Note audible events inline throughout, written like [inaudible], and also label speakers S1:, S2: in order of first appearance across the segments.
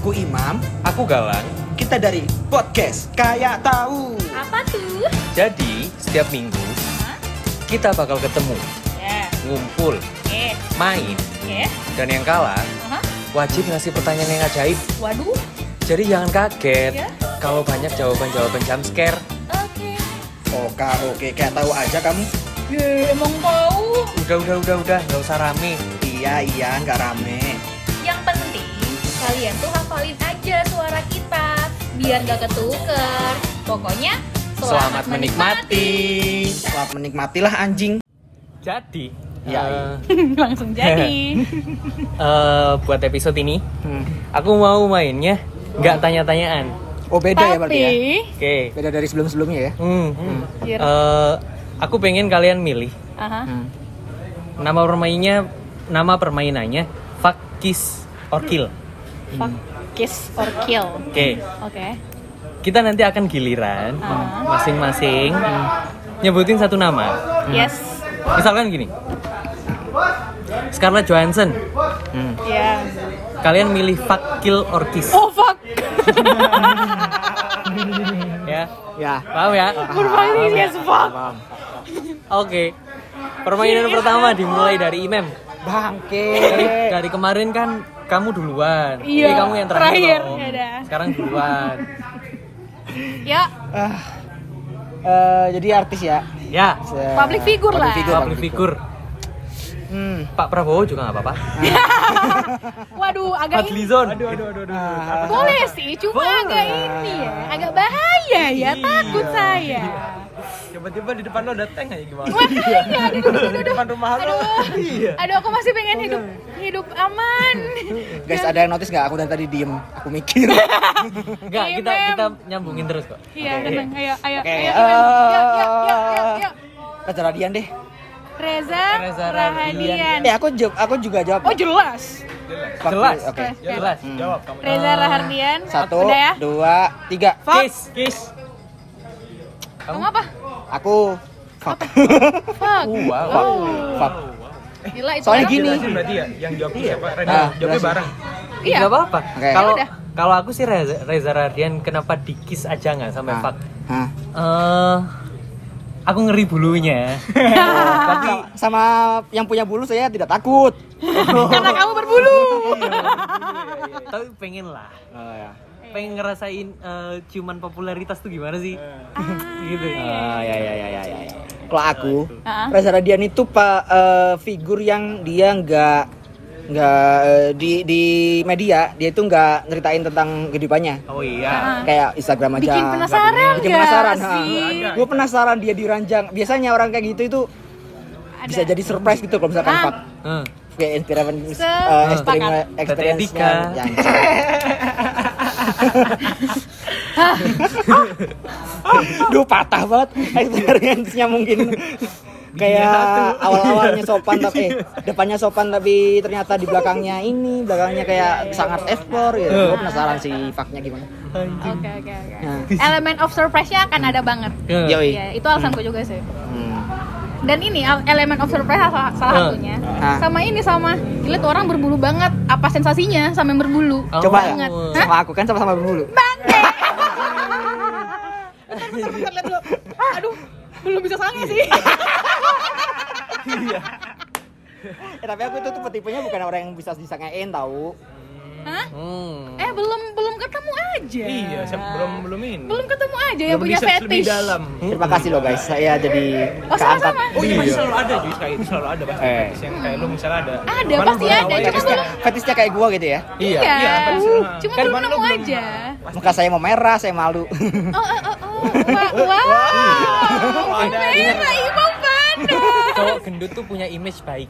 S1: Aku Imam,
S2: Aku Galang.
S1: kita dari podcast Kayak Tahu.
S3: Apa tuh?
S2: Jadi, setiap minggu kita bakal ketemu,
S3: Ya,
S2: ngumpul,
S3: eh,
S2: main,
S3: ya.
S2: dan yang kalah
S3: Aha.
S2: wajib ngasih pertanyaan yang ajaib.
S3: Waduh.
S2: Jadi jangan kaget
S3: Ya.
S2: kalau banyak jawaban-jawaban jump scare.
S3: Oke.
S1: Oke, oke, kayak tahu aja kamu.
S3: Ye, emang tahu.
S2: Udah, udah, udah, udah, nggak usah rame.
S1: Iya, iya, nggak rame.
S3: Yang penting kalian tuh hafalin aja suara kita biar gak ketuker. Pokoknya
S2: Selamat menikmati.
S1: Selamat menikmatilah anjing.
S2: Jadi,
S1: Ya,
S2: eh,
S3: [laughs] Langsung
S1: [laughs]
S3: jadi.
S2: eh, buat episode ini,
S1: Hmm.
S2: aku mau mainnya nggak tanya-tanyaan.
S1: Oh beda ya berarti ya?
S3: Tapi,
S2: Oke.
S1: Beda dari sebelum-sebelumnya ya?
S2: Hmm, hmm.
S3: Iya.
S2: Eh, aku pengen kalian milih
S3: aha.
S1: Hmm,
S2: nama permainnya, nama permainannya, fakis or kill.
S1: hmm.
S3: Fuck, kiss or kill.
S2: Oke.
S3: Oke.
S2: kita nanti akan giliran
S3: Ah.
S2: masing-masing nyebutin satu nama.
S1: Hmm.
S3: Yes.
S2: Misalkan gini. Scarlett Johansson.
S3: Ya.
S2: Kalian milih fuck kill or kiss
S3: [laughs] Oh fuck. [laughs]
S2: ya.
S1: Ya.
S2: Paham ya?
S3: Berpaling yes fuck.
S2: Oke. Permainan
S3: Iya.
S2: pertama dimulai dari Imam. Dari,
S1: Bangke.
S2: dari kemarin kan kamu duluan.
S3: Iya,
S2: Ini kamu yang terakhir.
S3: terakhir.
S2: dong.
S3: Ya udah.
S2: Sekarang duluan.
S3: Ya,
S1: [laughs] Ah. Eh, jadi artis ya?
S2: Ya.
S1: Se-
S3: Public figure lah.
S1: figure,
S2: Public figure.
S1: Hmm.
S2: Pak Prabowo juga nggak apa-apa.
S3: waduh agak ini
S2: Fadlizon.
S1: Ah.
S3: boleh sih, cuma agak ini ya, agak bahaya ya, takut saya.
S2: Tiba-tiba di depan lo ada tank aja gimana?
S3: Makanya, aduh, aduh, aduh, aduh.
S2: depan rumah
S3: Aduh,
S2: Iya.
S3: aduh, aku masih pengen hidup hidup aman.
S1: Guys, ada yang notice nggak? Aku dari tadi diem. Aku
S3: [laughs]
S1: mikir.
S2: Enggak,
S3: Iya,
S2: kita
S3: Mem.
S2: kita nyambungin terus kok.
S3: Iya, tenang, ayo, ayo,
S1: Oke.
S3: ayo, Iman. Yuk, yuk, yuk, yuk, yuk.
S1: Reza Radian deh.
S3: Reza
S2: Reza Rahadian.
S3: Rahadian.
S1: Eh, aku jawab, aku juga jawab.
S3: Oh jelas,
S1: Waktu-
S2: Jelas.
S1: Oke.
S3: Ya.
S2: Jelas. Jawab
S3: Reza Rahadian.
S1: Satu,
S3: Udah ya.
S1: dua, tiga.
S3: Fuck.
S2: Kiss, kiss.
S3: Kamu apa?
S1: Aku fuck. [laughs]
S3: Fuck.
S2: Wow.
S3: Oh,
S1: fuck.
S3: Gila itu.
S1: Soalnya
S3: orang.
S1: gini.
S4: berarti ya yang jawab siapa? Rena
S1: Ah,
S4: jawabnya
S1: jelasin.
S4: bareng.
S3: Iya.
S2: Enggak apa-apa.
S1: Oke.
S2: Kalau
S3: Ya udah.
S2: kalau aku sih Reza, Reza Radian kenapa dikis aja nggak sampai
S1: Hah.
S2: fuck?
S1: Hah.
S2: Eh aku ngeri
S3: [laughs]
S2: bulunya.
S1: Tapi sama yang punya bulu saya tidak takut.
S3: Karena kamu berbulu.
S2: Tapi pengen lah.
S1: Oh, ya.
S3: Iya.
S2: Pengen ngerasain eh, ciuman popularitas tuh gimana sih? gitu.
S3: iya.
S1: ya ya ya ya ya. Kalau aku,
S3: Ah.
S1: Reza Radian itu pak eh, figur yang dia nggak nggak eh, di di media dia itu nggak ngeritain tentang kehidupannya.
S2: Oh iya.
S4: Ah.
S1: kayak Instagram aja.
S3: Bikin penasaran
S1: Bikin
S3: nggak
S1: penasaran.
S3: sih?
S1: Gue penasaran dia diranjang. Biasanya orang kayak gitu itu bisa jadi surprise gitu kalau misalkan
S3: Ah.
S1: fuck
S2: Heeh.
S1: kayak inspirasi
S3: Se-
S1: eh, experience
S3: Sepakat. [laughs]
S1: experience-nya
S2: Tetetika.
S1: yang Duh patah banget experience-nya mungkin
S3: Iya,
S1: kayak awal-awalnya sopan tapi eh, depannya sopan tapi ternyata di belakangnya ini belakangnya kayak sangat explore gitu. Gue penasaran sih faknya gimana.
S2: Eh.
S3: Oke oke oke.
S1: Nah.
S3: Elemen of surprise-nya akan ada banget.
S2: Eh,
S1: Yoi.
S3: Iya, itu alasanku juga sih.
S1: Hmm.
S3: Dan ini al- elemen of surprise salah, salah
S4: Hmm.
S2: Eh.
S3: satunya.
S1: Ah.
S3: Sama ini sama gila tuh orang berbulu banget. Apa sensasinya sama yang berbulu?
S2: Oh.
S1: Coba ya.
S3: Banget. Hah?
S1: Sama aku kan sama-sama berbulu.
S4: [laughs]
S3: Lihat dulu. Aduh, belum bisa sange sih.
S1: [laughs] Eh, tapi aku itu tuh tipenya bukan orang yang bisa disangain tahu.
S3: Hah?
S2: Hmm.
S3: Eh, belum belum ketemu aja.
S4: Iya, siapa- belum belum ini.
S3: Belum ketemu aja yang
S4: belum
S3: punya
S4: research lebih
S3: fetish.
S4: dalam.
S2: Iya.
S1: Terima kasih loh guys, saya jadi
S3: Oh,
S1: keangkat.
S3: sama-sama.
S4: Oh iya, masih selalu ada Juis kayak itu selalu ada pasti
S1: Eh.
S4: fetish yang kayak lu misalnya ada.
S3: Ada,
S4: Cuman
S3: pasti
S4: gua
S3: Iya, ada,
S4: tahu ya,
S3: cuma
S4: kita-
S3: belum-
S1: Fetishnya kayak gua gitu ya.
S3: Iya.
S4: Iya, kan,
S3: Uh,
S4: kan.
S3: Cuma
S4: Kan
S3: belum
S4: mana
S3: ketemu
S4: belum- [laughs]
S3: aja.
S1: Muka saya mau merah, saya malu. [laughs]
S3: Oh, oh, oh, oh. Wah, wah. Wah,
S2: ada.
S3: merah, Imam panas.
S2: Cowok gendut tuh punya image baik.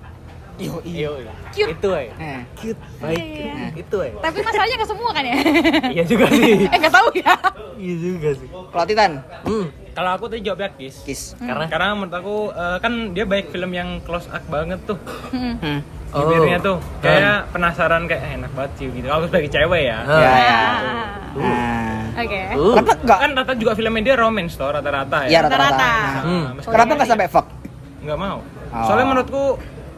S1: Yo,
S2: Iya.
S3: Cute.
S2: Itu ya.
S1: Eh,
S2: Cute, baik.
S3: Iya, iya.
S2: Itu ya.
S3: Tapi masalahnya ke semua kan ya? [laughs]
S2: Iya juga sih.
S3: eh, nggak tahu ya.
S2: Iya juga sih.
S1: kalau Titan,
S2: Hmm.
S4: Kalau aku tadi jawabnya Juis.
S1: kiss.
S2: Karena
S4: Karena menurut aku eh, kan dia baik film yang close up banget tuh.
S3: Hmm.
S1: Hmm.
S2: Oh.
S4: Bibirnya tuh
S1: kan.
S2: Hmm.
S4: kayak penasaran kayak eh, enak banget sih gitu. Kalau sebagai cewek ya.
S2: Hmm.
S1: Ya, ya.
S3: Ah,
S1: Nah.
S3: Oke.
S2: Uh.
S1: Kenapa enggak?
S4: Kan rata juga filmnya dia romance toh rata-rata ya.
S1: Iya
S3: Rata-rata.
S1: rata-rata. Nah.
S2: Hmm.
S4: Nah, meskipun
S1: Kenapa nggak sampai fuck?
S4: nggak mau.
S1: Oh.
S4: Soalnya menurutku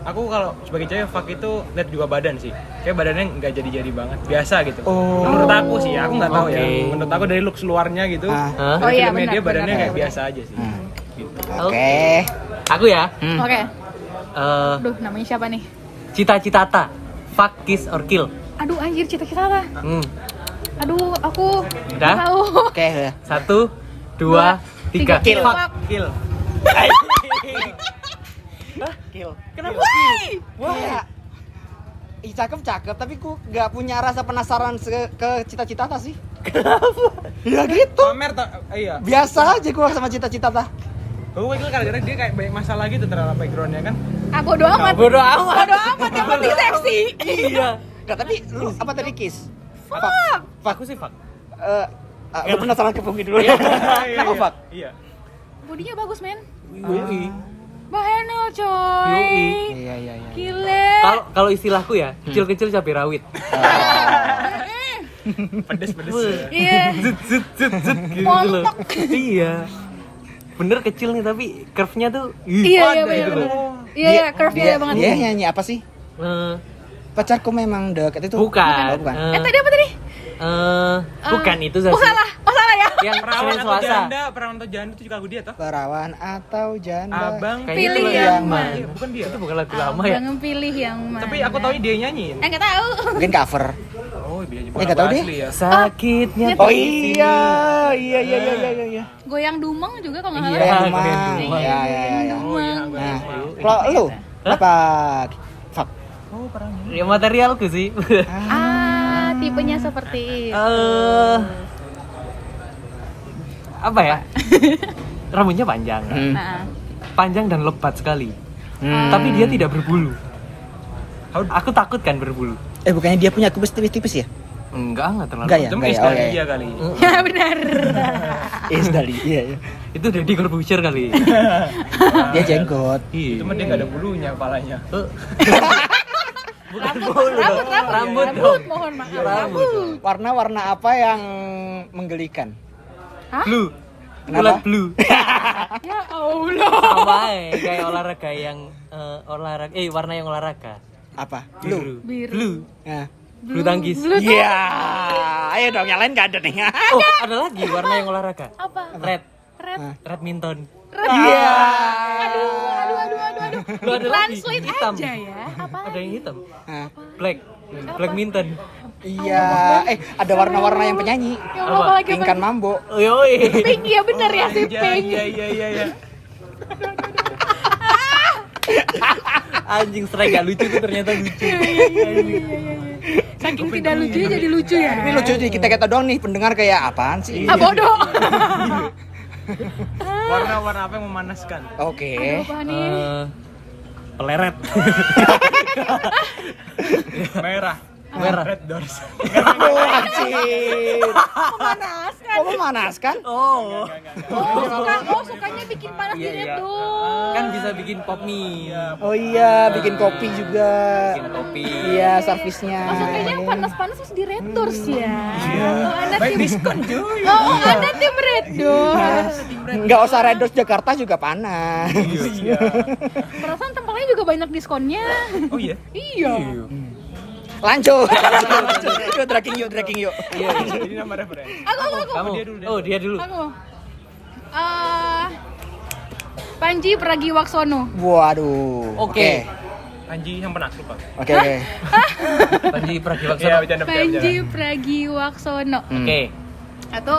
S4: aku kalau sebagai cewek fuck itu lihat juga badan sih kayak badannya nggak jadi-jadi banget biasa gitu
S1: Oh.
S4: menurut aku sih aku nggak tahu ya
S2: Oke.
S4: menurut aku dari looks luarnya gitu
S1: Ah.
S2: Hah?
S4: dari
S3: Oh iya,
S4: filmnya
S3: benar,
S4: dia badannya
S3: benar,
S4: kayak
S3: benar.
S4: biasa aja sih
S1: Hmm.
S4: gitu.
S1: Oke.
S2: Aku ya.
S1: Hmm.
S3: Oke.
S2: eh,
S3: Aduh, namanya siapa nih?
S2: cita-cita ta. Fuck, kiss or kill.
S3: Aduh, anjir cita-cita apa?
S2: Hmm.
S3: Aduh, aku oh,
S2: Udah?
S3: nggak tahu.
S1: Oke. udah.
S2: Satu, dua, tiga.
S3: Kill.
S2: Fuck.
S4: kill
S1: Kenapa? Wah. Ih cakep cakep, tapi ku nggak punya rasa penasaran se- ke cita-cita ta sih. Kenapa? Ya gitu.
S4: pamer tak iya
S1: Biasa aja gua sama cita-cita ta.
S4: aku kill karena dia kayak banyak masalah gitu terhadap backgroundnya kan
S3: Ah, bodo amat.
S2: Bodo amat.
S3: Bodo amat, yang penting seksi.
S2: Iya.
S1: Nggak, tapi lu apa tadi kiss?
S3: Fuck.
S1: Fuck.
S2: Aku sih fuck.
S1: Eh, ah, lu penasaran ke Pungki dulu ya. Kenapa fuck?
S4: iya
S3: Bodinya bagus, men.
S2: Yoi.
S3: Bahenol, coy.
S2: Yoi.
S1: Iya iya iya.
S3: Gile.
S2: Kalau kalau istilahku
S4: Hmm.
S2: ya, kecil-kecil cabai rawit.
S3: Mm-mm.
S4: pedes pedes
S2: Weh.
S3: Eh, Iya.
S2: Zut zut zut zut gitu loh.
S3: Montok.
S2: Iya. Bener kecil nih tapi curve-nya tuh ih,
S3: Iya,
S2: ada
S3: iya, bener,
S2: gitu loh.
S3: bener. Iya, iya, curve-nya
S1: dia,
S3: ada banget.
S1: Dia nyanyi apa sih?
S2: Eh,
S1: Pacarku memang deket itu.
S2: bukan.
S1: Oh, bukan.
S2: Eh,
S3: Eh, tadi apa tadi?
S2: eh, bukan
S3: Eh,
S2: itu Zazi.
S3: Oh, salah. Oh, salah ya.
S2: Yang
S4: perawan
S2: Senin
S4: atau
S2: Selasa.
S4: janda perawan atau janda itu juga aku dia toh
S1: Perawan atau janda?
S4: abang
S2: Kayaknya itu
S3: Pilih
S2: lagu
S3: yang Oh,
S2: lama.
S4: Iya, bukan dia
S2: gitu Itu bukan lagu lama ya.
S3: Jangan pilih yang mana.
S4: tapi aku tahu dia nyanyiin
S3: Eh, nggak tahu.
S1: Mungkin cover.
S4: oh dia
S1: Eh, nggak tahu dia.
S4: asli ya
S2: Sakitnya
S1: Oh iya, iya iya iya iya iya. iya.
S3: Goyang Dumang juga kalau nggak
S1: Ya,
S2: Iya,
S3: salah.
S1: Dumang.
S2: Goyang Dumang.
S1: Ya, ya, ya, ya.
S4: oh iya aku
S1: Nah,
S4: tahu.
S1: kalau lu apa? Fuck.
S4: oh perawan
S2: Ya materialku sih.
S3: Ah, tipenya seperti itu.
S2: Eh apa ya? Rambutnya panjang.
S1: Hmm.
S3: Nah,
S2: Panjang dan lebat sekali.
S1: Hmm.
S2: Tapi dia tidak berbulu.
S4: How-
S2: Aku takut kan berbulu.
S1: Eh bukannya dia punya kubus tipis-tipis ya?
S2: Enggak, enggak terlalu.
S1: Enggak ya?
S4: itu
S1: Enggak
S4: mungkin
S1: ya?
S4: dari
S1: Oke.
S4: dia kali
S3: [laughs] ya benar.
S1: Is dari iya iya.
S2: Itu Deddy Corbuzier
S3: [laughs]
S2: kali.
S3: Iya.
S1: Dia jenggot.
S2: Iya.
S4: cuma dia nggak ada bulunya kepalanya
S2: Eh. Bukan bulu.
S3: Rambut, rambut,
S2: Rambut Iya. dong.
S3: rambut, mohon maaf.
S2: Rambut dong.
S3: Rambut.
S1: Warna-warna apa yang menggelikan?
S3: Hah?
S2: Blue.
S1: Kenapa?
S2: Bulat blue.
S3: [laughs] Ya Allah.
S2: Sama eh, kayak olahraga yang eh, olahraga eh warna yang olahraga.
S1: Apa? Lu.
S2: Biru.
S3: Biru.
S2: Blue.
S1: Nah.
S2: Bulu tangkis.
S3: Blue tuh
S1: Iya. Ayo dong, yang lain gak ada nih.
S2: Oh, ada lagi warna yang olahraga.
S3: apa?
S2: Red.
S3: Red.
S1: Ah.
S2: Badminton.
S3: Red.
S1: Iya.
S3: Aduh, aduh, aduh, aduh, aduh.
S2: Lu ada lagi,
S3: Translate
S2: hitam.
S3: aja ya. Apa?
S2: Ada yang hitam.
S1: Nah,
S2: Black. Blackminton.
S1: Iya. Eh, ada warna-warna yang penyanyi. kan.
S3: Ya Allah,
S2: Apa?
S3: apa lagi?
S1: Pingkan mambo.
S2: Oh, Yoi.
S3: Pink ya bener ya si
S4: Iya,
S3: pink. [laughs]
S4: iya iya iya iya
S2: Anjing strike gak lucu tuh ternyata
S3: iya,
S2: lucu.
S3: Saking tidak lucunya jadi lucu ya.
S1: Ini lucu sih kita kita doang nih pendengar kayak apaan sih?
S3: Ah bodoh.
S4: warna-warna apa yang memanaskan
S1: Oke.
S3: Apa nih?
S2: Eh,
S3: [laughs]
S2: peleret.
S4: merah
S2: Merah.
S4: red doors
S1: Aduh, anjir.
S3: Memanaskan.
S1: Kok kan? memanaskan?
S2: Oh.
S3: kan? Oh, suka, oh sukanya bikin panas
S2: Iya,
S3: diri
S2: iya.
S3: tuh.
S2: Kan bisa bikin pop mie.
S1: Oh iya, bikin kopi juga.
S2: Bikin kopi.
S1: Iya, servisnya.
S3: Maksudnya yang panas-panas harus di Red Doors ya. Oh, Anda
S4: baik
S3: tim [laughs]
S4: diskon cuy
S3: Oh, oh, Anda tim Red
S1: Iya.
S3: Doors.
S1: Nggak usah Redos Jakarta juga panas.
S4: [laughs] iya
S3: Perasaan tempatnya juga banyak diskonnya.
S4: oh iya
S3: Iya.
S1: Lanjut. yuk dragging yuk, dragging yuk.
S4: iya jadi nama referensi
S3: Aku aku aku.
S2: Kamu.
S4: dia dulu, dia
S2: Oh, dia dulu.
S3: Aku. Eh Panji Pragiwaksono.
S1: Waduh.
S2: Oke.
S4: Anji yang penakluk Pak.
S1: Oke. Oke.
S2: Panji
S4: [laughs] Iya,
S2: Pragiwaksono.
S4: bercanda bercanda, bercanda.
S3: Panji Pragiwaksono.
S1: Hmm.
S2: Oke.
S3: Satu,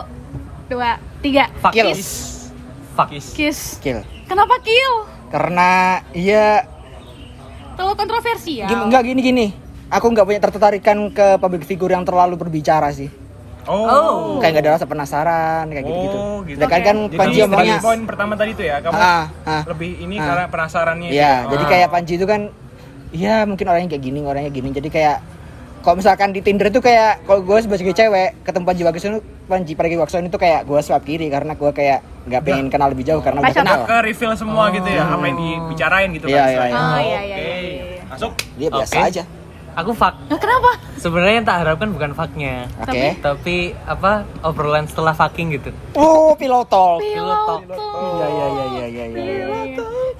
S3: dua, tiga.
S2: Fuck.
S1: Kill.
S2: Fuck.
S3: Kiss.
S1: Kill.
S3: Kenapa kill?
S1: Karena iya
S3: Terlalu kontroversial.
S1: gim- nggak gini gini. Aku nggak punya tertarikan ke public figure yang terlalu berbicara sih.
S4: Oh.
S1: Kayak nggak ada rasa penasaran kayak gitu-gitu.
S4: Oh, gitu.
S1: Sedangkan kan
S4: Jadi
S1: Panji
S4: tadi
S1: omongnya
S4: poin pertama tadi tuh ya, kamu
S1: Ah, ah.
S4: lebih ini
S1: Ah.
S4: karena penasarannya.
S1: Iya,
S4: itu.
S1: jadi
S4: Ah.
S1: kayak Panji itu kan Iya mungkin orangnya kayak gini, orangnya gini Jadi kayak kalau misalkan di Tinder itu kayak kalau gue sebagai cewek ketemu Panji Waksono Panji Pragiwaksono itu kayak gue swap kiri karena gue kayak nggak pengen kenal lebih jauh karena udah
S3: Pacar.
S1: kenal
S4: ke reveal semua gitu ya, apa yang dibicarain gitu
S1: Iya,
S4: kan.
S1: iya, iya.
S4: istilahnya.
S3: Oh, iya, iya,
S4: Oke.
S3: iya, iya.
S4: Masuk.
S1: dia biasa
S2: Oke.
S1: aja
S2: Eh aku fuck
S3: Nah, kenapa?
S2: sebenarnya yang tak harapkan bukan fucknya
S1: Oke.
S2: tapi apa obrolan setelah fucking gitu
S1: Oh, pilotol.
S3: Piloto.
S1: Iya iya iya iya iya iya.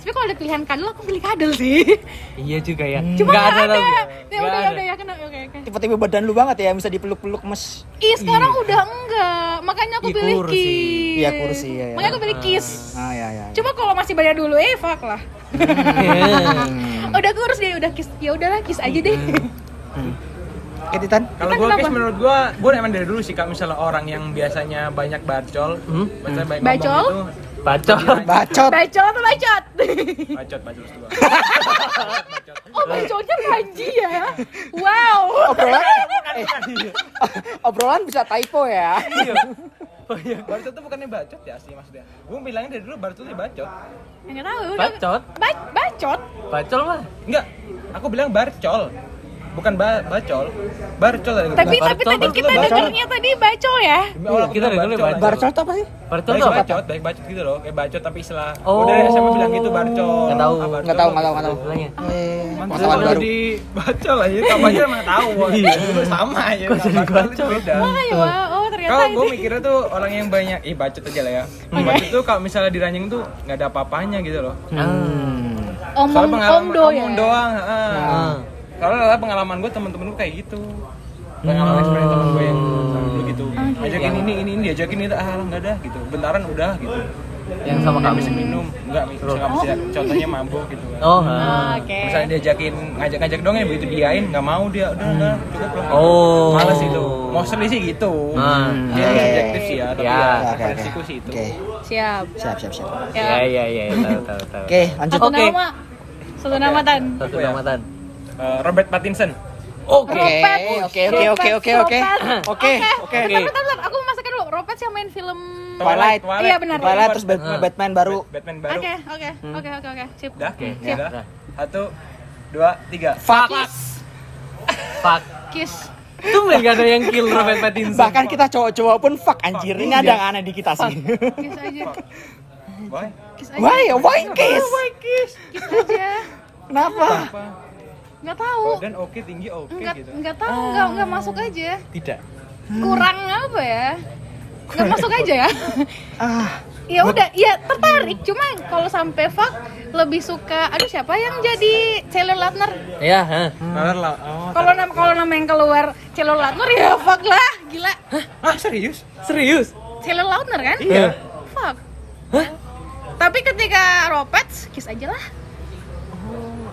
S3: Tapi kalau ada pilihan kadal, aku pilih kadal sih.
S2: iya juga ya
S1: Hmm.
S3: Cuma
S2: Nggak
S3: nggak ada.
S2: tau.
S3: Ya
S2: Nggak
S3: udah,
S2: ada.
S3: ya
S2: [laughs]
S3: udah, ya kena. Oke, oke.
S1: Tipe-tipe badan lu banget ya bisa dipeluk-peluk mes.
S3: Ih, sekarang udah enggak. Makanya aku
S2: Ih,
S3: pilih
S2: kursi.
S3: kiss.
S1: Iya, kursi, iya, iya.
S3: Makanya aku pilih kiss.
S1: Ah ya ya.
S3: Cuma kalau masih bayar dulu, eh fuck lah.
S2: Iya.
S3: udah kurus deh, udah kiss. Ya udahlah, kiss aja deh.
S1: Eh Titan,
S4: Kalau
S3: Kita
S4: gue
S3: kan kenapa?
S4: case menurut gue, gue emang dari dulu sih kalau misalnya orang yang biasanya banyak bacol,
S2: Hmm?
S4: biasanya banyak
S3: Bacol?
S4: ngomong gitu,
S2: bacot
S1: bacot.
S3: [laughs] bacot apa bacot? [laughs]
S4: itu, bacot bacot itu.
S3: oh, bacotnya gaji ya. Wow. [laughs]
S1: Obrolan eh, obrolan bisa typo ya.
S4: Bacot tuh Iya, bukannya bacot ya sih maksudnya. Gue bilangnya dari dulu bacot itu bacot.
S3: Enggak tahu. udah-
S2: bacot
S3: Ba- bacot.
S2: bacol mah
S4: Enggak, aku bilang barcol. Bukan ba- bacol. Barcol dari
S3: Tapi
S2: Bacot.
S3: tapi tadi kita
S4: Bacot.
S3: dengernya tadi bacol ya.
S1: Iya,
S2: Kita dari dulu bacol.
S1: Barcol tuh apa sih?
S2: bacol
S4: Baik
S2: tuh apa
S4: bacot, baik bacot gitu loh, kayak bacot tapi istilah
S2: Oh.
S4: Udah siapa bilang gitu barcol
S2: Nggak tahu.
S4: Ah, barcol
S1: Enggak tahu,
S4: mah
S1: enggak tahu, enggak tahu.
S2: Istilahnya.
S1: Eh,
S4: Mantap
S1: masalah
S4: kalau
S1: baru.
S4: di bacol aja, tampaknya emang tahu. Iya, sama aja.
S2: Kok jadi
S4: Bacol itu
S2: bacol?
S4: Beda.
S3: Ayo, wah, oh ternyata
S4: Kalau gue
S3: ini.
S4: mikirnya tuh orang yang banyak, ih bacot aja lah ya. Bacot tuh kalau misalnya diranjing tuh nggak ada apa-apanya gitu loh.
S1: Hmm.
S3: Omong om do ya.
S4: omong doang. heeh.
S2: Ah.
S4: Soalnya adalah pengalaman gue temen-temen gue kayak gitu. Pengalaman experience temen gue yang sama dulu gitu. Ajakin ini, ini, ini, diajakin itu, ah lah nggak ada gitu. Bentaran udah gitu.
S2: yang sama
S4: Nggak
S2: kami
S4: bisa minum, nggak bisa, nggak bisa. Contohnya mabuk gitu. kan.
S2: oh
S3: Ah,
S2: ah.
S3: Oke.
S4: Misalnya diajakin ngajak-ngajak dong ya begitu diain nggak mau dia udah udah cukup lah.
S2: Oh.
S4: Males itu. Mostly sih gitu.
S2: Ah.
S1: Nah,
S4: Dia
S1: Oke.
S4: objektif sih ya, tapi
S2: Ya.
S4: ya
S1: iya, Oke, oke,
S4: preferensiku
S1: oke.
S4: sih itu.
S1: Oke,
S3: Siap.
S1: siap siap siap.
S2: ya
S3: Ya.
S2: ya ya tahu tahu tahu
S1: Oke, lanjut.
S3: Satu
S2: Oke.
S3: nama. Satu nama tan.
S2: satu
S4: Aku ya.
S2: nama tan
S4: Eh, Robert Pattinson.
S2: oke
S3: Ropet.
S1: Oke, oke, oke, oke, oke.
S3: Ropet.
S1: Oke,
S2: oke.
S3: Bentar, bentar, bentar. Aku masukin dulu. Ropet siapa main film?
S1: Twilight.
S3: Iya, benar.
S1: Twilight terus Bat-
S4: Nah.
S2: Hmm.
S1: Batman baru.
S4: Bat- Batman baru.
S3: Oke, oke,
S1: Hmm.
S3: oke, oke, oke. Sip.
S4: Udah?
S2: Oke.
S4: Ya.
S2: Udah.
S4: Udah. Satu, dua, tiga.
S1: Fuck.
S2: fuck
S3: Kiss.
S2: tuh nggak ada yang kill Robert Pattinson
S1: Bahkan kita cowok-cowok pun fuck anjir. Ini ada yang aneh di kita sih.
S3: Kiss aja.
S4: Why?
S3: Kiss aja.
S1: Why? Why Oh kiss?
S3: Kiss aja.
S1: Kenapa?
S4: Apa?
S3: Enggak tahu.
S4: Oh, Dan oke tinggi oke
S3: Oh. Enggak
S4: gitu.
S3: enggak tahu, enggak enggak masuk aja.
S2: tidak
S3: Kurang apa ya? Enggak masuk aja ya.
S1: Ah,
S3: Ya udah, ya tertarik. Cuma kalau sampai fuck lebih suka aduh siapa yang jadi Taylor Lautner?
S2: ya
S4: Iya,
S2: hah.
S1: Hmm.
S4: Nalar lah. Oh.
S3: Kalau nama kalau nama yang keluar Taylor Lautner ya fuck lah, gila.
S4: Ah serius?
S2: serius
S3: Taylor Lautner kan?
S2: Iya.
S3: Fuck. Tapi ketika Ropets, kiss aja lah.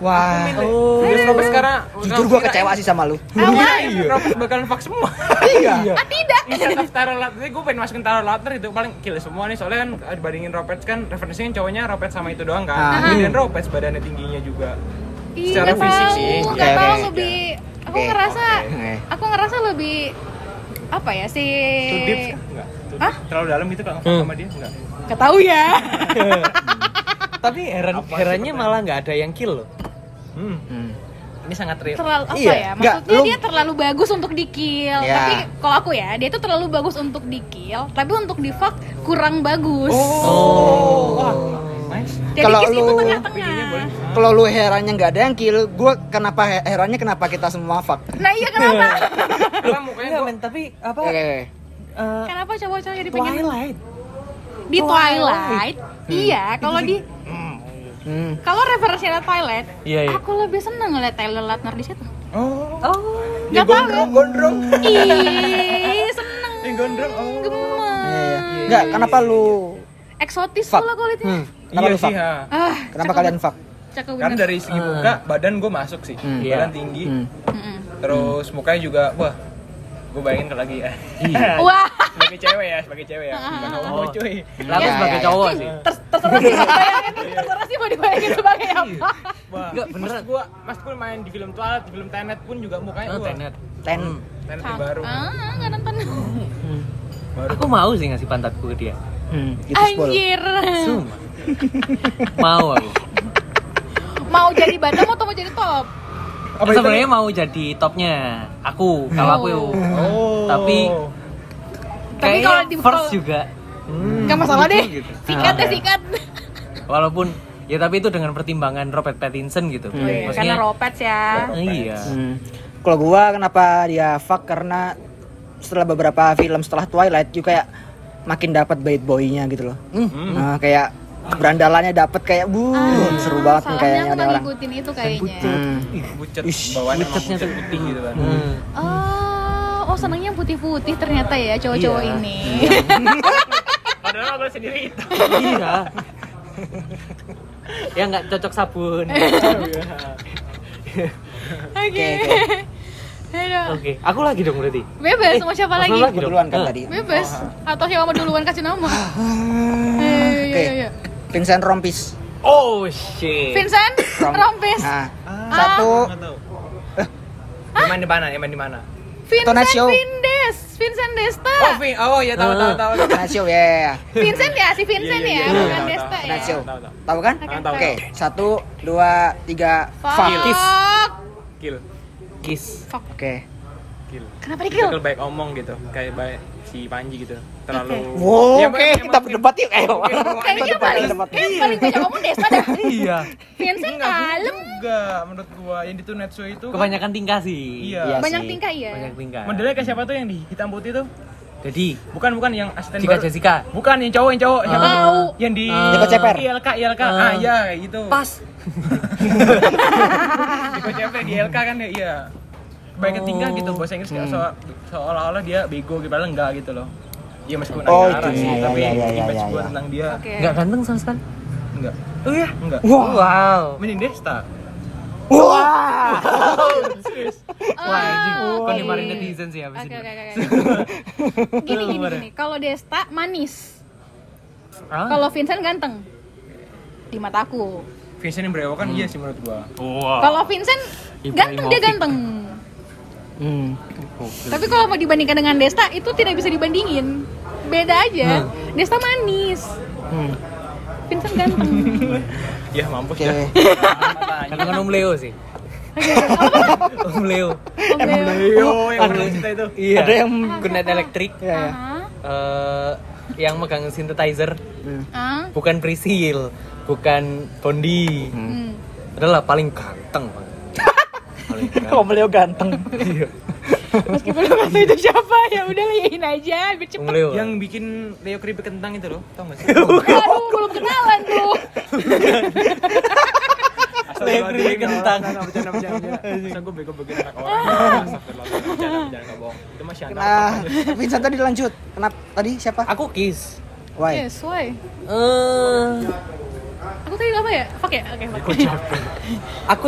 S1: wah.
S2: oh
S4: Terus Robert sekarang
S1: Jujur gua kecewa sih sama lu.
S3: Awal.
S4: Robert bakalan fuck semua.
S1: Iya.
S3: Ah tidak.
S4: Insert of Taylor Lautner, gue pengen masukin Taylor Lautner itu paling kill semua nih soalnya kan dibandingin Robert kan referensinya cowoknya Robert sama itu doang kan.
S1: Ah.
S4: Kemudian Robert badannya tingginya juga.
S3: Ih,
S4: Secara
S3: nggak
S4: fisik
S3: tahu,
S4: sih.
S3: nggak
S1: Oke,
S3: tahu
S1: oke.
S3: lebih. Aku
S1: Iya, Oke,
S3: ngerasa,
S1: oke.
S3: aku ngerasa lebih apa ya sih?
S4: Too deep kah? kan? enggak? Too deep.
S3: Hah?
S4: Terlalu dalam gitu kalau
S2: Hmm.
S4: nge-fuck sama dia enggak.
S3: Nggak tahu ya.
S2: tapi heran
S4: Apa sih
S2: herannya
S4: pertanyaan?
S2: malah nggak ada yang kill loh
S4: Hmm.
S1: Hmm.
S4: Ini sangat real.
S3: terlalu apa
S1: Iya,
S3: ya?
S1: nggak,
S3: Maksudnya
S1: lu-
S3: dia terlalu bagus untuk dikil.
S1: Iya.
S3: Tapi kalau aku ya, dia tuh terlalu bagus untuk dikil, tapi untuk di fuck kurang bagus.
S4: Oh. Wah, nice.
S3: Jadi
S1: Kalau
S3: kiss itu
S1: lu-
S4: Videonya boleh.
S3: tengah-tengah.
S1: Kalau lu herannya nggak ada yang kill, gua kenapa he- herannya kenapa kita semua fuck?
S3: Nah iya kenapa?
S4: Karena mukanya
S2: Enggak,
S4: gua-
S2: men, tapi apa
S1: Oke.
S2: eh,
S3: kenapa cowok-cowok jadi pengen
S2: Twilight
S3: di Twilight? Iya, kalau di
S1: Hmm.
S3: kalau referensinya Twilight,
S2: Iya, iya.
S3: aku lebih seneng ngeliat Taylor Lautner di situ.
S4: Oh.
S2: oh
S3: Gak tahu ya?
S4: gondrong. [laughs]
S3: Ih, seneng.
S4: Yang gondrong. Oh.
S1: Iya, iya.
S3: Gemes.
S1: Nggak, kenapa lu
S3: Eksotis
S1: Fuck.
S3: pula kulitnya.
S1: Kenapa
S4: iya
S1: lu fuck?
S4: sih, ha.
S3: Ah,
S1: Kenapa
S3: cakep
S1: kalian
S3: banget.
S1: fuck?
S3: Cakep
S4: Karena
S3: banget.
S4: Kan dari segi
S2: Ah.
S4: muka, badan gue masuk sih.
S1: Hmm.
S2: Iya.
S4: Badan tinggi.
S1: Hmm.
S3: Mm-mm.
S4: Terus mukanya juga, wah. Gue bayangin kalau lagi ya.
S3: Wah,
S4: [laughs] sebagai cewek ya, sebagai cewek ya. Bukan homo, cuy.
S2: Lah, aku
S1: Iya,
S2: sebagai
S1: iya,
S2: cowok sih
S3: ter- terserah sih mau dibayangin, terserah sih mau dibayangin sebagai apa.
S4: Wah.
S2: Enggak, beneran.
S4: Mas gue, mas gue main di film Twilight, di film Tenet pun juga mukanya
S2: Oh,
S4: gue.
S2: tenet Hmm.
S1: Ten.
S4: Tenet yang
S3: Cakep.
S4: baru.
S3: Ah, nggak nonton.
S4: Baru.
S2: aku mau sih ngasih pantatku ke dia
S1: Hmm. Gitu sepuluh.
S3: Anjir.
S2: Sumpah [laughs] mau aku
S3: Mau jadi bottom atau mau jadi top?
S4: Apa itu?
S2: sebenarnya mau jadi topnya aku kalau aku
S4: Oh.
S2: Tapi-
S3: Tapi
S2: kayaknya
S3: kalau di
S2: first juga
S3: Gak masalah deh.
S2: Gitu.
S3: Sikat deh,
S2: Ah, oke.
S3: sikat. Oh,
S2: walaupun ya tapi itu dengan pertimbangan Robert Pattinson gitu
S3: Oh, iya, Karena
S2: maksudnya
S3: ropet ya.
S2: iya
S1: Hmm. kalau gua kenapa dia fuck karena setelah beberapa film setelah Twilight juga kayak makin dapat bait boy-nya gitu loh. Nah, kayak berandalannya dapat kayak bu seru banget nih
S3: Ah, Soalnya
S1: kayaknya
S3: aku
S1: ada
S3: pernah
S1: orang.
S3: ngikutin itu kayaknya.
S1: Hmm.
S4: Pucet
S1: Ish,
S4: bawaannya sama
S2: pucetnya
S4: pucet
S2: tuh.
S4: putih gitu kan.
S2: Hmm.
S3: Oh, oh senangnya putih-putih ternyata ya cowok-cowok
S2: Iya.
S3: ini. [laughs]
S4: Padahal gue sendiri itu.
S2: iya ya nggak cocok sabun
S1: Oke,
S3: Oke.
S1: oke.
S3: Aduh.
S2: oke aku lagi dong berarti
S3: Bebas mau siapa
S2: Mas
S3: lagi?
S2: Nono lagi dong?
S1: Kebetulan kan
S2: Ah.
S1: tadi.
S3: Bebas atau siapa mau duluan kasih nama? Iya,
S1: Ah,
S3: Ayo,
S1: Oke.
S3: ayo, ayo.
S1: Vincent Rompis.
S2: oh shit
S3: Vincent,
S1: Rom-
S3: Rompis. Ah.
S1: Nah, satu
S4: Yang main di mana? Yang main di mana?
S3: Vincent
S1: Tonasio.
S3: Vindes, Vincent Desta.
S4: Oh, Vin. Oh, ya tahu tahu tahu.
S1: Nasio ya.
S3: Vincent ya, si Vincent
S4: Iya,
S3: ya,
S4: iya, iya,
S3: bukan
S4: tahu,
S3: Desta ya.
S1: Nasio.
S4: Tahu, tahu.
S1: Tahu Iya. kan?
S3: Oke,
S1: Oke,
S3: tahu.
S1: satu, dua, tiga. Fakis.
S3: Fuck.
S4: Kill.
S2: kiss
S3: Fuck.
S1: Oke.
S4: Kill.
S3: Kenapa di
S4: Kill
S3: kill?
S4: baik omong gitu. Kayak baik si Panji gitu. Terlalu
S1: Wow,
S4: Ya,
S1: Iya, oke,
S4: emang-
S1: kita berdebat yuk. Ayo.
S3: Kayaknya paling, kayaknya paling banyak ngomong Desta dah.
S2: [laughs] iya
S3: Vincent
S4: Enggak
S3: kalem,
S4: juga menurut gua yang di Tunetsu itu kan-
S2: kebanyakan tingkah sih
S4: Iya.
S1: Iya.
S3: banyak
S1: sih.
S3: tingkah ya.
S2: banyak tingkah
S4: Modelnya kayak siapa tuh yang di hitam putih tuh?
S2: jadi
S4: Bukan bukan yang asisten
S2: Jessica
S4: baru.
S2: Jessica
S4: Bukan yang cowok yang cowok siapa?
S3: Tahu.
S4: Yang di
S2: Ah.
S1: Joko Ceper.
S4: ILK ILK.
S2: Ah.
S4: Ah, iya kayak gitu. [laughs]
S2: pas
S4: Joko Ceper di ILK kan ya iya. Kebanyakan
S2: Oh.
S4: tingkah gitu bahasa Inggris kayak so- seolah-olah dia bego gitu padahal enggak gitu loh. Iya meskipun
S1: Oh,
S4: agak arah
S1: itu,
S4: sih,
S1: iya,
S4: tapi
S1: iya, iya, iya,
S4: image
S1: iya,
S4: gua
S1: iya.
S4: tentang dia
S3: Oke.
S2: nggak ganteng sama sekali
S4: enggak.
S2: oh iya
S4: Enggak.
S1: Wah.
S2: wow
S4: Mending Desta.
S1: Wah.
S4: Serius.
S3: Eh,
S2: Wah, anjing.
S3: oke.
S2: Kok dimarahin netizen sih abis
S3: iya. Oke,
S2: ini?
S3: oke,
S2: [laughs]
S3: oke. oke. Gini, gini, gini. Kalau Desta manis,
S2: Ah.
S3: kalau Vincent ganteng di mataku.
S4: Vincent yang berewokan iya sih menurut gua.
S2: Wow.
S3: Kalau Vincent
S2: Ibrahimovic.
S3: ganteng dia ganteng.
S1: Hmm.
S3: Tapi kalau mau dibandingkan dengan Desta itu tidak bisa dibandingin. Beda aja. Desta manis,
S1: Hmm.
S3: Vincent
S2: [laughs]
S3: ganteng.
S4: Ya mampus
S1: Oke.
S4: ya.
S2: Karena kan Om Leo sih. [laughs] Om Leo.
S3: Om Leo.
S4: Yo, yang
S2: Ada-
S4: pernah cerita itu.
S2: Iya.
S1: Ada yang
S2: Gunet elektrik
S1: ya, ya.
S3: Aha.
S2: eh yang megang synthesizer
S1: Hmm.
S3: Ah.
S2: bukan Prisil, bukan Bondi.
S3: Hmm.
S2: Adalah paling ganteng. Bang. paling
S1: Kalau beliau ganteng.
S2: Iya.
S3: [laughs] Meskipun lu kata itu siapa ya udah layain aja biar
S2: Om
S3: cepet.
S2: Leo.
S4: Yang bikin Leo keripik kentang itu loh, tau gak sih?
S3: Aduh, belum kenalan tuh.
S2: Leo keripik kentang.
S4: Masa gue bego-begoin anak orang Astagfirullahaladzim, bercanda, bercanda, gak bohong Itu masih anak
S1: Nah, Vincent tadi lanjut. Kenapa tadi siapa?
S2: Aku kiss.
S1: Why?
S3: Yes, why?
S2: Eh,
S3: Aku tadi apa ya? Fuck ya? Oke, fuck.
S2: aku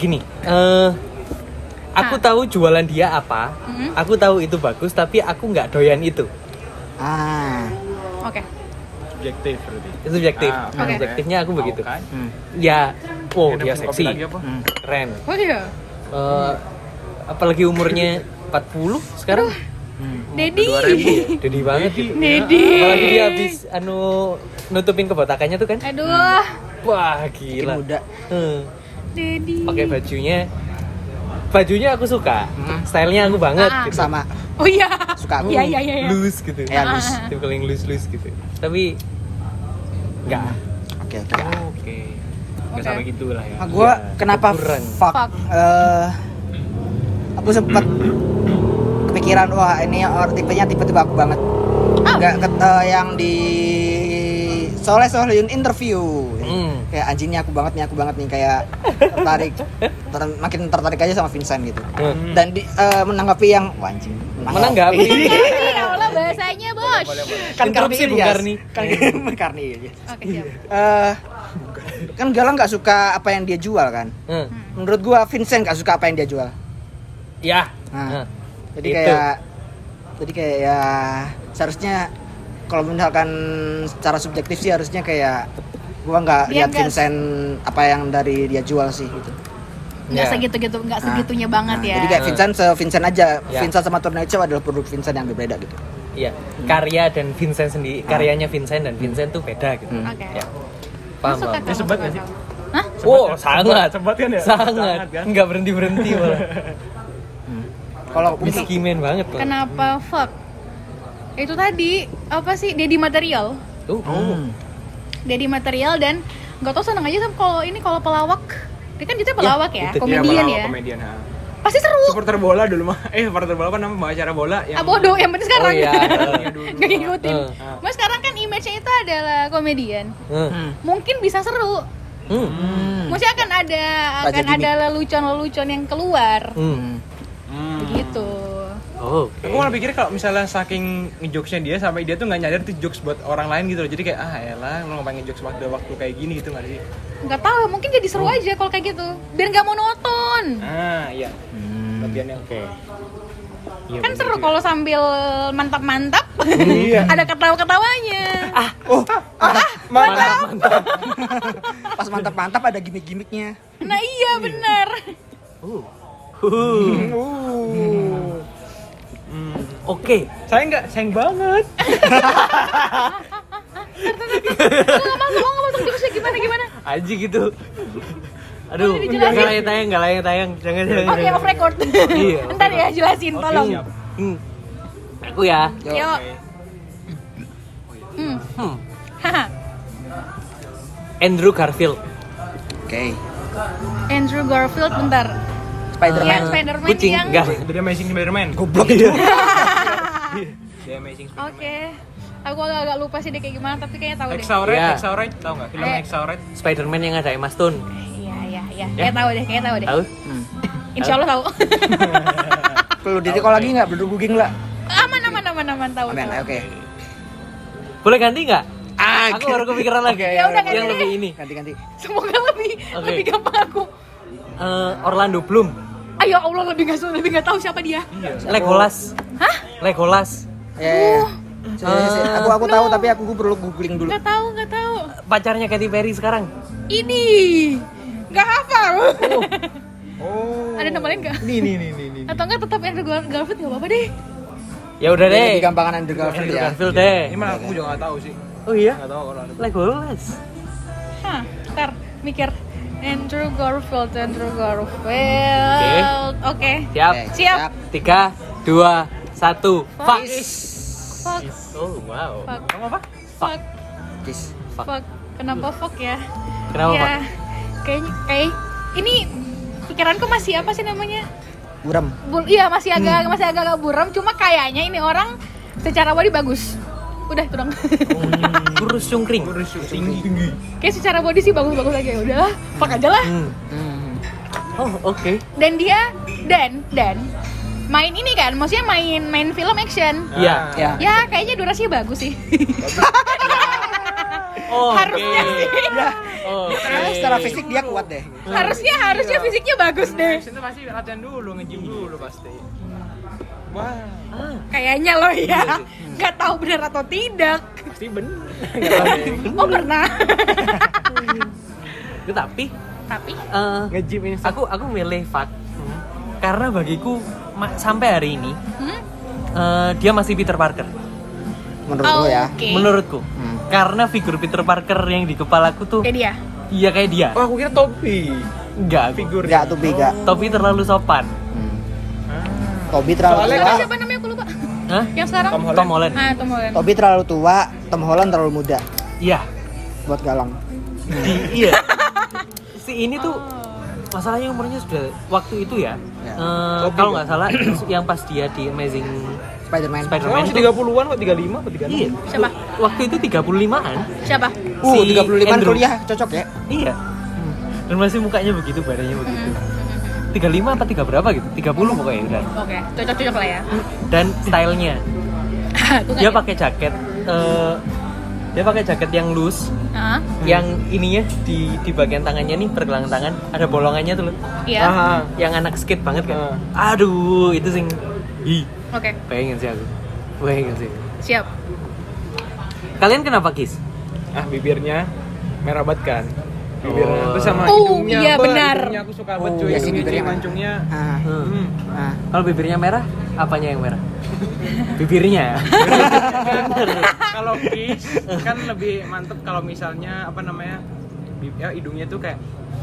S2: gini. Eh, aku
S3: Ah.
S2: tahu jualan dia apa.
S3: Mhm.
S2: Aku tahu itu bagus, tapi aku nggak doyan itu.
S1: Ah.
S3: Oke.
S4: subjektif berarti
S2: Itu subjektif.
S4: Ah,
S3: oke.
S2: Subjektifnya aku
S4: Tahu
S2: begitu.
S4: kan?
S1: Hmm.
S2: Ya, wow,
S4: Enak
S2: dia
S4: minum kopi
S2: seksi,
S4: lagi apa?
S1: Hmm.
S2: keren.
S3: Oh iya.
S2: Eh, apalagi umurnya 40 sekarang,
S3: Dedi.
S2: Dedi banget gitu.
S3: Dedi.
S2: Apalagi dia habis anu nutupin kebotakannya tuh kan.
S3: Aduh.
S2: Wah,
S1: Makin
S2: gila.
S1: muda.
S2: Eh,
S3: Dedi.
S2: Pakai bajunya. Bajunya aku suka. Stylenya aku banget
S3: Ah.
S2: gitu.
S1: Hmm. Sama.
S3: Oh iya. Ah.
S1: Suka aku.
S3: Iya, iya, iya. iya.
S2: Loose gitu.
S1: Ya, loose.
S2: Tipe yang loose-loose gitu. Tapi enggak.
S1: Oke, Oh, oke.
S4: Oke Gak
S3: Oke.
S4: sampai gitu lah ya
S1: Nah, gua
S2: Ya,
S1: kenapa
S2: kurang.
S1: fuck?
S3: Fuck.
S1: Eh, aku sempat kepikiran wah ini or, tipenya tipe-tipe aku banget.
S3: Ah.
S1: Enggak yang di Soleh Sohyun interview.
S2: Hmm.
S1: Kayak anjingnya aku banget nih, aku banget nih kayak tertarik. Ter- makin tertarik aja sama Vincent gitu.
S2: Hmm.
S1: Dan di, eh, menanggapi yang wah, anjing.
S2: Menanggapi.
S3: Karni, Oh, ya Allah bahasanya, Bos.
S1: Iya,
S2: [laughs]
S1: Kan
S2: Interupsi,
S1: Karni
S2: Bung
S1: Ilyas.
S2: Karni.
S1: Kan
S2: [laughs]
S1: Karni Ilyas.
S3: Oke, siap.
S1: Eh, kan Galang nggak suka apa yang dia jual kan?
S2: Eh,
S3: Hmm.
S1: Menurut gua Vincent nggak suka apa yang dia jual.
S2: Ya.
S1: Nah,
S2: Eh.
S1: jadi
S2: Itu.
S1: kayak jadi kayak ya seharusnya kalau misalkan secara subjektif sih harusnya kayak gua nggak
S3: Dia
S1: lihat
S3: nggak-
S1: Vincent apa yang dari dia jual sih gitu.
S3: Enggak
S2: Ya.
S3: segitu-gitu, enggak
S1: Nah,
S3: segitunya banget
S1: nah,
S3: ya.
S1: Jadi kayak
S2: Nah.
S1: Vincent se Vincent aja,
S2: Ya.
S1: Vincent sama Tornado adalah produk Vincent yang berbeda gitu.
S2: Iya, karya dan Vincent sendiri, karyanya Vincent dan Vincent tuh beda gitu.
S1: Ah. Hmm.
S3: Oke.
S2: Ya. Paham,
S3: Masuk
S2: paham.
S3: akal,
S4: Ya, sebat
S3: masuk
S4: nggak sih?
S3: akal. Hah?
S2: Oh, sangat.
S4: Sebat kan ya?
S2: Sangat.
S4: Sangat kan?
S2: Enggak berhenti-berhenti malah. Nah,
S1: Kalau untuk
S2: Miskimen banget loh.
S3: Kenapa fuck? Itu tadi apa sih? Dedi material.
S2: Tuh.
S1: Hmm.
S3: Dedi material dan nggak tau seneng aja sama kalau ini kalau pelawak. Dia kan gitu pelawak ya,
S2: itu dia,
S3: komedian ya.
S4: Komedian ha
S3: Pasti seru.
S4: supporter bola dulu mah eh supporter bola apa namanya acara bola yang
S3: Ah bodoh, yang penting sekarang. [laughs]
S2: Oh, iya.
S3: Nggak ngikutin.
S2: Eh,
S3: Mas sekarang kan image-nya itu adalah komedian.
S2: Hmm.
S3: Mungkin bisa seru.
S2: Hmm.
S3: Mungkin akan ada
S1: Tak
S3: akan
S1: jadi
S3: ada lelucon-lelucon yang keluar
S2: Hmm.
S4: Hmm.
S3: gitu.
S2: Oh,
S4: Aku malah pikir kalau misalnya saking ngejokesnya dia sampai dia tuh nggak nyadar tuh jokes buat orang lain gitu loh. Jadi kayak ah elah lu ngapain ngejokes waktu waktu kayak gini gitu nggak sih?
S3: Nggak tahu, mungkin jadi seru aja kalau kayak gitu. Biar nggak monoton.
S4: Ah iya.
S2: Hmm.
S4: Bagian yang
S2: Oke.
S3: kan seru kalau sambil mantap-mantap. [laughs] ada ketawa-ketawanya.
S1: Ah, oh, mantap, mantap. Pas mantap-mantap ada gimmick-gimmicknya.
S3: Nah iya benar.
S1: Uh.
S2: Oke.
S4: saya nggak sayang banget.
S3: Nggak masuk, nggak masuk jokesnya gimana gimana?
S2: Aji gitu. Aduh,
S3: Boleh
S2: nggak
S3: dijelasin?
S2: layak tayang, nggak layak tayang. Jangan, jangan.
S3: Oke
S2: jangan.
S3: off record.
S2: Iya, off
S3: Ntar ya jelasin tolong.
S4: siap.
S2: Hmm. Aku ya.
S3: Yuk. Hmm.
S2: Hmm.
S3: Haha.
S2: Andrew Garfield.
S1: Oke.
S3: Andrew Garfield bentar. Iya,
S1: Spider-Man.
S3: Spider-Man
S2: Hmm. Kucing,
S3: yang
S2: enggak.
S4: Dari Amazing Spider-Man.
S1: Goblok
S4: [laughs]
S1: itu.
S4: The Amazing
S3: Oke. Aku agak-agak lupa sih dia kayak gimana, tapi kayaknya tahu deh.
S4: Exaurite,
S2: Iya.
S4: Exaurite tau nggak? Film
S3: Eh.
S4: Exaurite.
S2: Spider-Man yang ada Emma Stone.
S3: Iya, iya, iya. Kayak tahu deh, kayaknya tahu deh.
S2: Tahu?
S3: Insya Allah tahu. [laughs]
S1: Perlu diri kalau lagi nggak berdua guging lah.
S3: aman, aman, aman, aman tahu.
S1: Amin.
S3: tahu.
S1: Oke.
S2: Boleh ganti nggak?
S1: Ah,
S2: Aku baru kepikiran lagi.
S1: Oke,
S3: Ya udah, ganti
S2: yang
S3: deh.
S2: lebih ini.
S1: Ganti-ganti.
S3: Semoga lebih
S2: Oke.
S3: lebih gampang aku.
S2: Eh, Orlando Bloom.
S3: Ayo Allah lebih nggak su- lebih nggak tahu siapa dia.
S2: Legolas.
S3: Hah?
S2: Legolas.
S1: Ya, ya, ya.
S2: Uh.
S1: Sini, sini, sini. Aku aku tahu tapi aku perlu googling dulu.
S3: Nggak tahu, nggak tahu.
S2: Pacarnya Katy Perry sekarang.
S3: Ini nggak hafal.
S4: Oh.
S3: Ada nama lain nggak?
S4: Ini ini ini ini.
S3: Atau nggak tetap Andrew Gar- Garfield nggak apa-apa deh.
S2: Ya udah
S1: Jadi
S2: deh.
S1: Lebih gampangan Andrew Garfield
S2: Andrew
S1: ya.
S2: Garfield deh.
S4: Ini malah aku juga nggak tahu sih.
S2: Oh iya.
S4: Nggak tahu kalau ada.
S2: Legolas.
S3: Hah, ntar mikir. Andrew Garfield, Andrew
S2: Oke.
S3: Garfield. Oke.
S2: Siap.
S1: Oke,
S3: Siap.
S2: Tiga, dua, satu. Fuck.
S3: Fuck,
S2: Oh wow.
S3: fuck,
S4: Kamu apa?
S3: fuck,
S1: Kiss.
S2: Fuck.
S3: fuck. Kenapa fuck ya?
S2: Kenapa
S3: ya,
S2: Pak?
S3: Kayaknya kayak ini pikiranku masih apa sih namanya?
S1: Buram.
S3: Bul iya masih
S2: Hmm.
S3: agak masih agak agak buram cuma kayaknya ini orang secara body bagus. Udah itu dong. [laughs]
S2: Kurus cungkring.
S4: Kurus tinggi tinggi.
S3: kayak secara body sih bagus-bagus aja ya udah. Fuck aja lah.
S2: Hmm.
S1: Hmm.
S2: Oh oke.
S3: Dan dia dan dan main ini kan, maksudnya main main film action.
S2: Iya.
S1: Ya.
S3: Ya kayaknya durasinya bagus sih.
S2: Oh,
S3: Harusnya sih.
S1: Kayaknya Eh, secara fisik dia kuat deh.
S3: harusnya harusnya fisiknya bagus deh.
S4: Itu pasti latihan dulu, nge-gym dulu pasti. Wah,
S2: Ah,
S3: Kayaknya loh ya. Nggak tahu benar atau tidak.
S4: pasti bener.
S3: [laughs] Oh pernah.
S2: Tetapi
S3: Tapi
S2: eh,
S4: Nge-gym ini
S2: aku aku milih Fat karena bagiku ma- sampai hari ini
S3: hmm?
S2: eh, dia masih Peter Parker
S1: Menurut lo
S2: Oh.
S1: ya.
S3: Oke.
S2: menurutku.
S1: Hmm.
S2: Karena figur Peter Parker yang di kepalaku tuh
S3: Kayak dia.
S2: iya kayak dia.
S4: Oh, aku kira topi. Ya.
S2: Enggak. aku.
S4: Figur.
S1: Enggak tuh Biga.
S2: Tapi terlalu sopan.
S1: Hmm. Tobi terlalu
S4: Soalnya
S1: tua.
S3: Siapa,
S2: kan-
S3: siapa namanya aku lupa.
S2: Hah?
S3: Yang sekarang
S4: Tom Holland.
S2: Tom Holland.
S3: Ah, Tom Holland.
S1: Tobi terlalu tua, Tom Holland terlalu muda
S2: Iya.
S1: buat galang.
S2: Di- iya. Si ini
S3: Oh.
S2: tuh masalahnya umurnya sudah waktu itu ya.
S1: Ya.
S2: eh,
S4: Lebih
S2: kalau
S4: kan?
S2: nggak salah [clears throat] yang pas dia di Amazing
S1: Spider-Man.
S2: Spider-Man
S4: Emang masih
S2: tuh-
S4: 30-an kok 35 atau 36?
S2: Iya.
S3: Siapa?
S2: Waktu itu 35-an.
S3: Siapa?
S1: uh,
S2: si
S1: 35
S2: Andrew.
S1: kuliah cocok ya.
S2: Iya. Dan masih mukanya begitu, badannya
S3: Hmm.
S2: begitu. 35 apa 3 berapa gitu? 30 pokoknya udah.
S3: Oke, cocok-cocok lah ya. [laughs]
S2: Dan stylenya
S3: Aku
S2: dia pakai jaket eh, dia pakai jaket yang loose,
S1: Hmm.
S3: Hah?
S2: yang ininya di di bagian tangannya nih pergelangan tangan ada bolongannya tuh loh.
S3: Iya.
S4: Ah,
S2: Yang anak skate banget kan.
S1: Ah.
S2: Aduh, itu sing ih,
S3: Oke,
S2: pengen sih aku. Pengen sih.
S3: siap.
S2: Kalian kenapa kis?
S4: ah bibirnya merah banget kan. Bibirnya
S2: Oh.
S4: terus sama
S3: Oh,
S4: hidungnya.
S3: iya,
S4: bah,
S3: benar.
S4: Hidungnya aku suka banget
S1: Oh,
S4: cuy.
S1: iya sih,
S4: hidungnya
S1: bibirnya.
S4: cuy, mancungnya.
S1: Ah,
S2: Hmm.
S4: Hmm.
S1: ah.
S2: Kalau bibirnya merah, apanya yang
S1: [laughs]
S2: merah? Bibirnya ya.
S4: gitu. kalau kiss kan lebih mantep kalau misalnya apa namanya? bib- Ya, hidungnya tuh kayak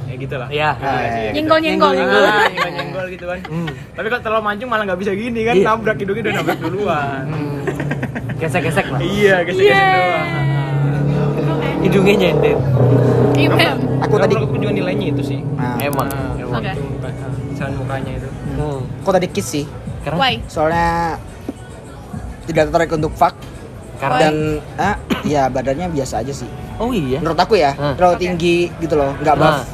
S4: ya gitu lah.
S2: Iya.
S4: Gitu nggak sih?
S1: Iya.
S3: Nyenggol-nyenggol.
S2: Nyenggol-nyenggol.
S4: Ah, nyenggol gitu kan.
S2: Hmm.
S4: Tapi kalau terlalu mancung malah nggak bisa gini kan,
S2: Iya.
S4: nabrak hidungnya udah nabrak
S2: [laughs]
S4: duluan.
S2: Gesek-gesek lah.
S4: Iya, gesek-gesek
S3: Iya.
S4: doang.
S2: Hidungnya nyendet.
S3: Iya.
S1: Aku tadi
S4: Menurut aku juga nilainya itu sih.
S1: Ah. Hmm.
S2: Emang,
S4: Ah,
S2: emang.
S3: Oke.
S4: Jangan mukanya itu.
S2: Wow.
S1: Kok tadi kiss sih?
S2: Karena
S3: Why?
S1: Soalnya tidak tertarik untuk fuck
S2: karena
S1: dan ah, [clears throat] ya badannya biasa aja sih.
S2: oh iya.
S1: Menurut aku ya,
S2: Hmm.
S1: terlalu
S3: Oke.
S1: tinggi gitu loh, nggak buff,
S2: Ah.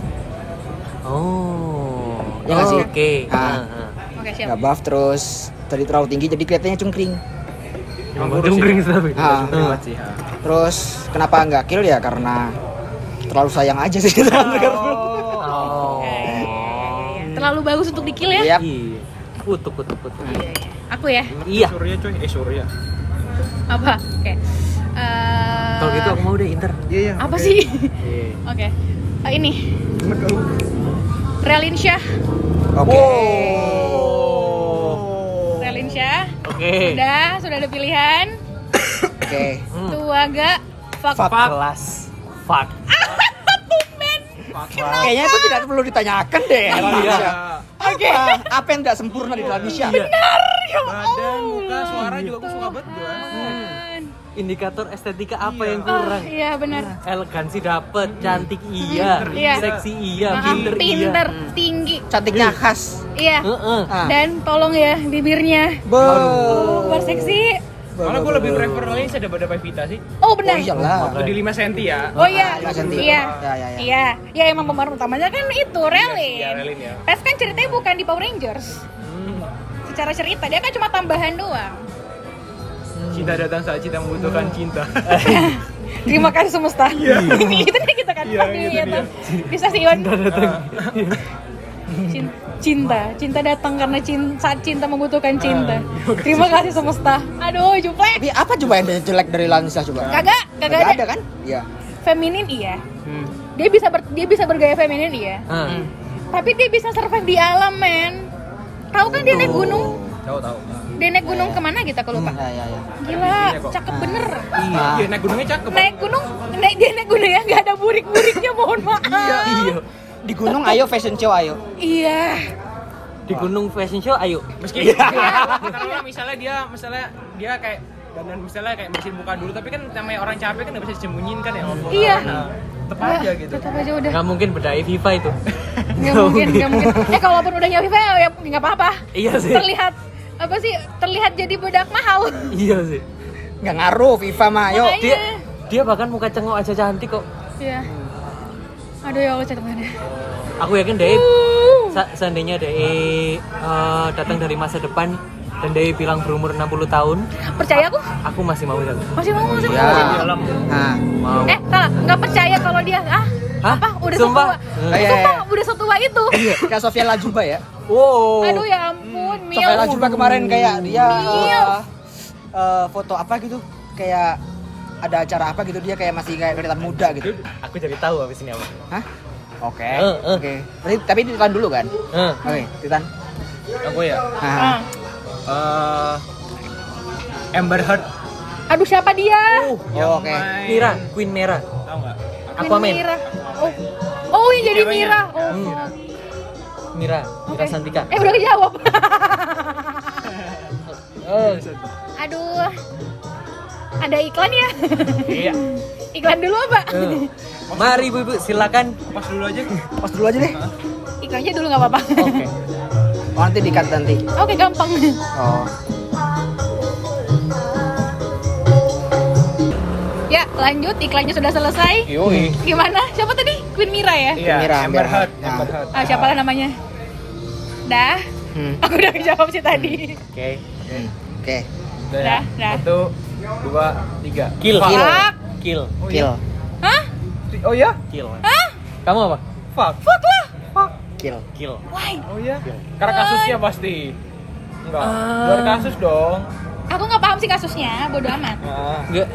S2: Oh.
S1: Ya nggak
S2: Oh,
S1: sih?
S2: Oke.
S1: Ah.
S2: Ah, ah.
S3: Oke, siap.
S1: nggak buff terus tadi terlalu tinggi jadi kelihatannya cungkring.
S4: Emang kurus
S2: Jungkring
S4: sih.
S2: tapi.
S1: Ah.
S4: Lewat sih, ha.
S1: Terus kenapa nggak kill ya karena terlalu sayang aja sih. [laughs]
S2: Oh.
S3: iya, Terlalu bagus untuk dikil ya?
S1: Iya.
S2: Iya. Kutuk kutuk kutuk.
S3: Aku ya.
S2: Iya.
S4: Surya cuy, eh Surya.
S3: Apa? Oke. Eh,
S2: Kalau gitu aku mau deh inter.
S4: Iya iya.
S3: apa
S4: oke.
S3: sih? [laughs]
S2: Iya.
S3: Oke. Eh, ini. Relin Syah.
S1: Oke.
S3: Relin Syah.
S2: Oke.
S3: Sudah, sudah ada pilihan.
S1: Oke.
S2: Hmm.
S3: Tua gak? Fuck.
S1: Fuck.
S2: Fuck. Kelas. Fuck.
S1: Kayaknya itu tidak perlu ditanyakan deh.
S2: Iya,
S3: Iya.
S1: Radisha.
S3: Oke.
S1: Apa? Apa yang tidak sempurna di Radisha?
S2: Iya.
S4: Badan,
S3: Oh,
S4: muka, suara juga aku suka banget gua.
S2: Indikator estetika apa yang
S3: Oh,
S2: kurang?
S3: iya benar.
S2: Elegansi dapet, cantik iya,
S3: Iya.
S2: seksi iya,
S3: Maaf,
S2: pinter,
S3: pinter,
S2: iya.
S3: tinggi.
S1: Cantiknya khas.
S3: Iya.
S2: Heeh.
S1: Ah.
S3: Dan tolong ya bibirnya.
S1: Be. Oh,
S3: Luar seksi.
S4: Malah gue lebih prefer Lisa daripada Pevita sih.
S3: Oh benar.
S1: Oh iyalah.
S4: Di 5 cm ya.
S3: Oh iya,
S1: Ah, Mas Yanti.
S3: iya,
S1: Ya, ya, ya.
S3: iya, iya emang pemeran utamanya kan itu Relin.
S4: Iya, Relin ya. Hmm.
S3: Tes kan ceritanya bukan di Power Rangers. Secara cerita dia kan cuma tambahan doang.
S4: Cinta datang saat cinta membutuhkan cinta.
S3: Terima kasih
S4: [laughs]
S3: semesta. [laughs] itu dia kita kan
S4: Iya,
S3: Iya,
S4: gitu
S3: iya,
S4: dia.
S3: tuh. Bisa sih Iwan. [laughs] Cin- Cinta, cinta datang karena cinta, saat cinta membutuhkan
S4: Ah,
S3: cinta.
S4: iya,
S3: Terima kasih semesta. Aduh, juplek.
S1: Tapi Iya, apa coba yang jelek dari Lansa coba?
S3: Kagak, kagak ada.
S1: ada kan? Iya.
S3: Feminin iya. Dia bisa ber- dia bisa bergaya feminin iya.
S2: Ah.
S3: Tapi dia bisa survive di alam, men. Tahu kan dia naik gunung?
S4: Tahu tahu.
S3: Dia naik gunung kemana gitu aku lupa.
S1: Hmm, Ya, ya, ya.
S3: Gila, cakep bener.
S4: Iya,
S1: Ah.
S4: iya, naik gunungnya cakep.
S3: Naik gunung, naik dia naik gunung ya nggak ada burik-buriknya, mohon maaf.
S2: Iya.
S1: Di gunung ayo fashion show ayo.
S3: Iya.
S2: Di gunung fashion show ayo.
S4: [laughs] Meskipun taruhlah Iya. ya, misalnya dia misalnya dia kayak dan misalnya kayak mesin buka dulu tapi kan namanya orang capek kan nggak bisa disembunyiin kan ya Allah.
S3: Iya.
S4: Nah, tetep
S3: Udah,
S4: aja gitu.
S3: Tetap aja udah.
S2: Gak mungkin bedai Viva
S3: [laughs]
S2: itu.
S3: Nggak mungkin, nggak mungkin. Eh kalaupun udah nyawa Viva, ya nggak apa-apa.
S2: Iya sih.
S3: Terlihat apa sih? Terlihat jadi budak mahal.
S2: Iya sih.
S1: Nggak ngaruh Viva mah ayo.
S3: Makanya.
S2: Dia dia bahkan muka cengok aja cantik kok.
S3: Iya. Aduh ya Allah catetannya.
S2: Aku yakin Dai
S3: Uh.
S2: sa- seandainya Dai eh, datang dari masa depan dan Dai bilang berumur 60 tahun,
S3: Percaya aku?
S2: aku masih mau jalan.
S3: Masih mau masih
S1: Ya.
S3: mau.
S1: Nah,
S2: Mau.
S3: Eh, salah, nggak percaya kalau dia ah
S2: Hah?
S3: apa udah
S2: Sumpah? iya,
S3: setua.
S1: Eh.
S3: Sumpah, udah setua itu.
S1: Iya, kayak Sofia Lajuba ya.
S2: Wow.
S3: Aduh ya ampun, Mil.
S1: Sofia Lajuba kemarin kayak dia
S3: Milf.
S1: eh, eh, foto apa gitu kayak ada acara apa gitu dia kayak masih kayak kelihatan muda gitu.
S2: Aku jadi tahu habis ini apa.
S1: Hah? Oke.
S2: Eh, eh.
S1: Oke. Tapi tapi Titan dulu kan?
S2: Eh,
S1: Oke, Titan.
S4: Aku ya.
S1: Nah,
S3: Ah.
S2: uh,
S4: Eh, Amber Heard.
S3: Aduh siapa dia?
S1: oh, oke.
S2: Mira, Queen Mera.
S4: Tahu nggak?
S2: Aquaman. Iya.
S3: Mira. Oh. Oh, yang jadi
S4: Ceweknya.
S3: Mira. Oh.
S2: Mira. Mira, Mira
S3: oke.
S2: Santika.
S3: Eh, udah kejawab. [laughs]
S2: Eh,
S3: Aduh. Ada iklan ya? [laughs]
S2: Iya.
S3: iklan dulu, Pak.
S2: Eh. Mari Bu Ibu silakan.
S4: Pas dulu aja.
S1: Pas dulu aja deh.
S3: Iklannya dulu nggak apa-apa.
S2: Oke.
S1: Oh, nanti di-cut nanti.
S3: Oke, gampang.
S1: Oh.
S3: Ya, lanjut. Iklannya sudah selesai.
S4: Yoi.
S3: Gimana? Siapa tadi? Queen Mira ya?
S1: Mira,
S4: Iya, Amber
S1: Amber
S4: Heard.
S1: Heard.
S4: Amber Heard.
S3: Ah, siapa lah namanya? Dah. [laughs]
S1: Hmm.
S3: Aku udah jawab sih tadi.
S4: Oke.
S1: Oke.
S4: Udah ya?
S3: Dah, dah.
S4: Satu, dua, tiga. iya.
S2: Kill.
S1: Kill.
S3: Fuck.
S2: Kill.
S1: Kill.
S3: Hah?
S4: Oh ya?
S2: Kill. Kamu apa?
S4: Fuck.
S3: Fuck lah.
S1: Kill.
S2: Kill.
S3: Why?
S4: Oh ya? Karena kasusnya pasti. Enggak.
S3: Ah.
S4: Luar kasus dong.
S3: Aku nggak paham sih kasusnya, bodo amat. [laughs]
S4: Nah.
S2: Enggak.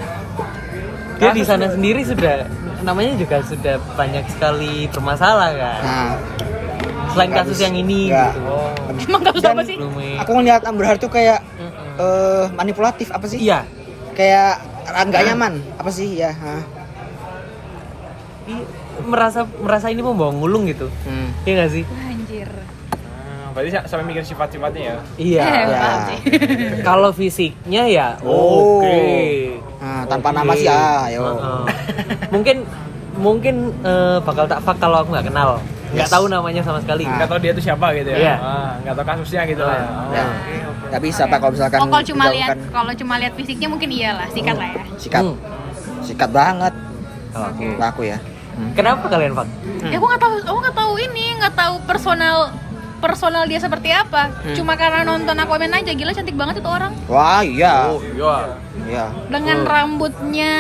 S2: Dia di
S4: Kasus
S2: sana
S4: dulu.
S2: sendiri sudah namanya juga sudah banyak sekali bermasalah kan.
S1: Nah,
S2: Selain
S1: nggak
S2: kasus
S1: bisa.
S2: yang ini
S1: Nggak.
S2: gitu.
S4: Oh.
S3: Emang kasus
S1: Dan-
S3: apa sih?
S2: Belum ya.
S1: aku ngeliat Amber Heard tuh kayak
S2: Mm-mm.
S1: eh manipulatif apa sih?
S2: Iya.
S1: Kayak nggak nyaman apa sih ya? Hah.
S2: I- merasa merasa ini membawa ngulung gitu.
S1: Hmm.
S2: Iya nggak sih?
S3: Anjir.
S4: Hmm, Berarti sa- sampai mikir sifat-sifatnya ya.
S3: [laughs]
S2: Iya.
S3: Eh,
S1: ya.
S3: paham sih.
S2: Kalau fisiknya ya
S1: Oh.
S2: oke.
S1: Nah, tanpa
S2: Oke.
S1: nama sih ah, ayo.
S2: Heeh. mungkin mungkin eh, bakal tak fak kalau aku nggak kenal. nggak tahu namanya sama sekali
S1: Nah,
S4: nggak tahu dia tuh siapa gitu ya
S2: Iya.
S4: Ah, nggak tahu kasusnya gitu lah ya. Oh,
S1: Ya.
S4: oke, oke.
S1: Tapi siapa kalau misalkan
S3: Oh, kalau cuma lihat
S1: dijauhkan,
S3: kalau cuma lihat fisiknya mungkin iyalah, sikat lah ya.
S1: sikat.
S2: Hmm.
S1: Sikat banget
S2: Kalau aku.
S1: laku ya.
S2: kenapa kalian pak
S1: Hmm.
S3: Ya aku nggak tahu, aku nggak tahu ini, nggak tahu personal personal dia seperti apa.
S1: Hmm.
S3: Cuma karena nonton Aquaman aja, gila cantik banget itu orang.
S1: Wah, iya.
S4: Oh, iya.
S1: Iya.
S3: Dengan rambutnya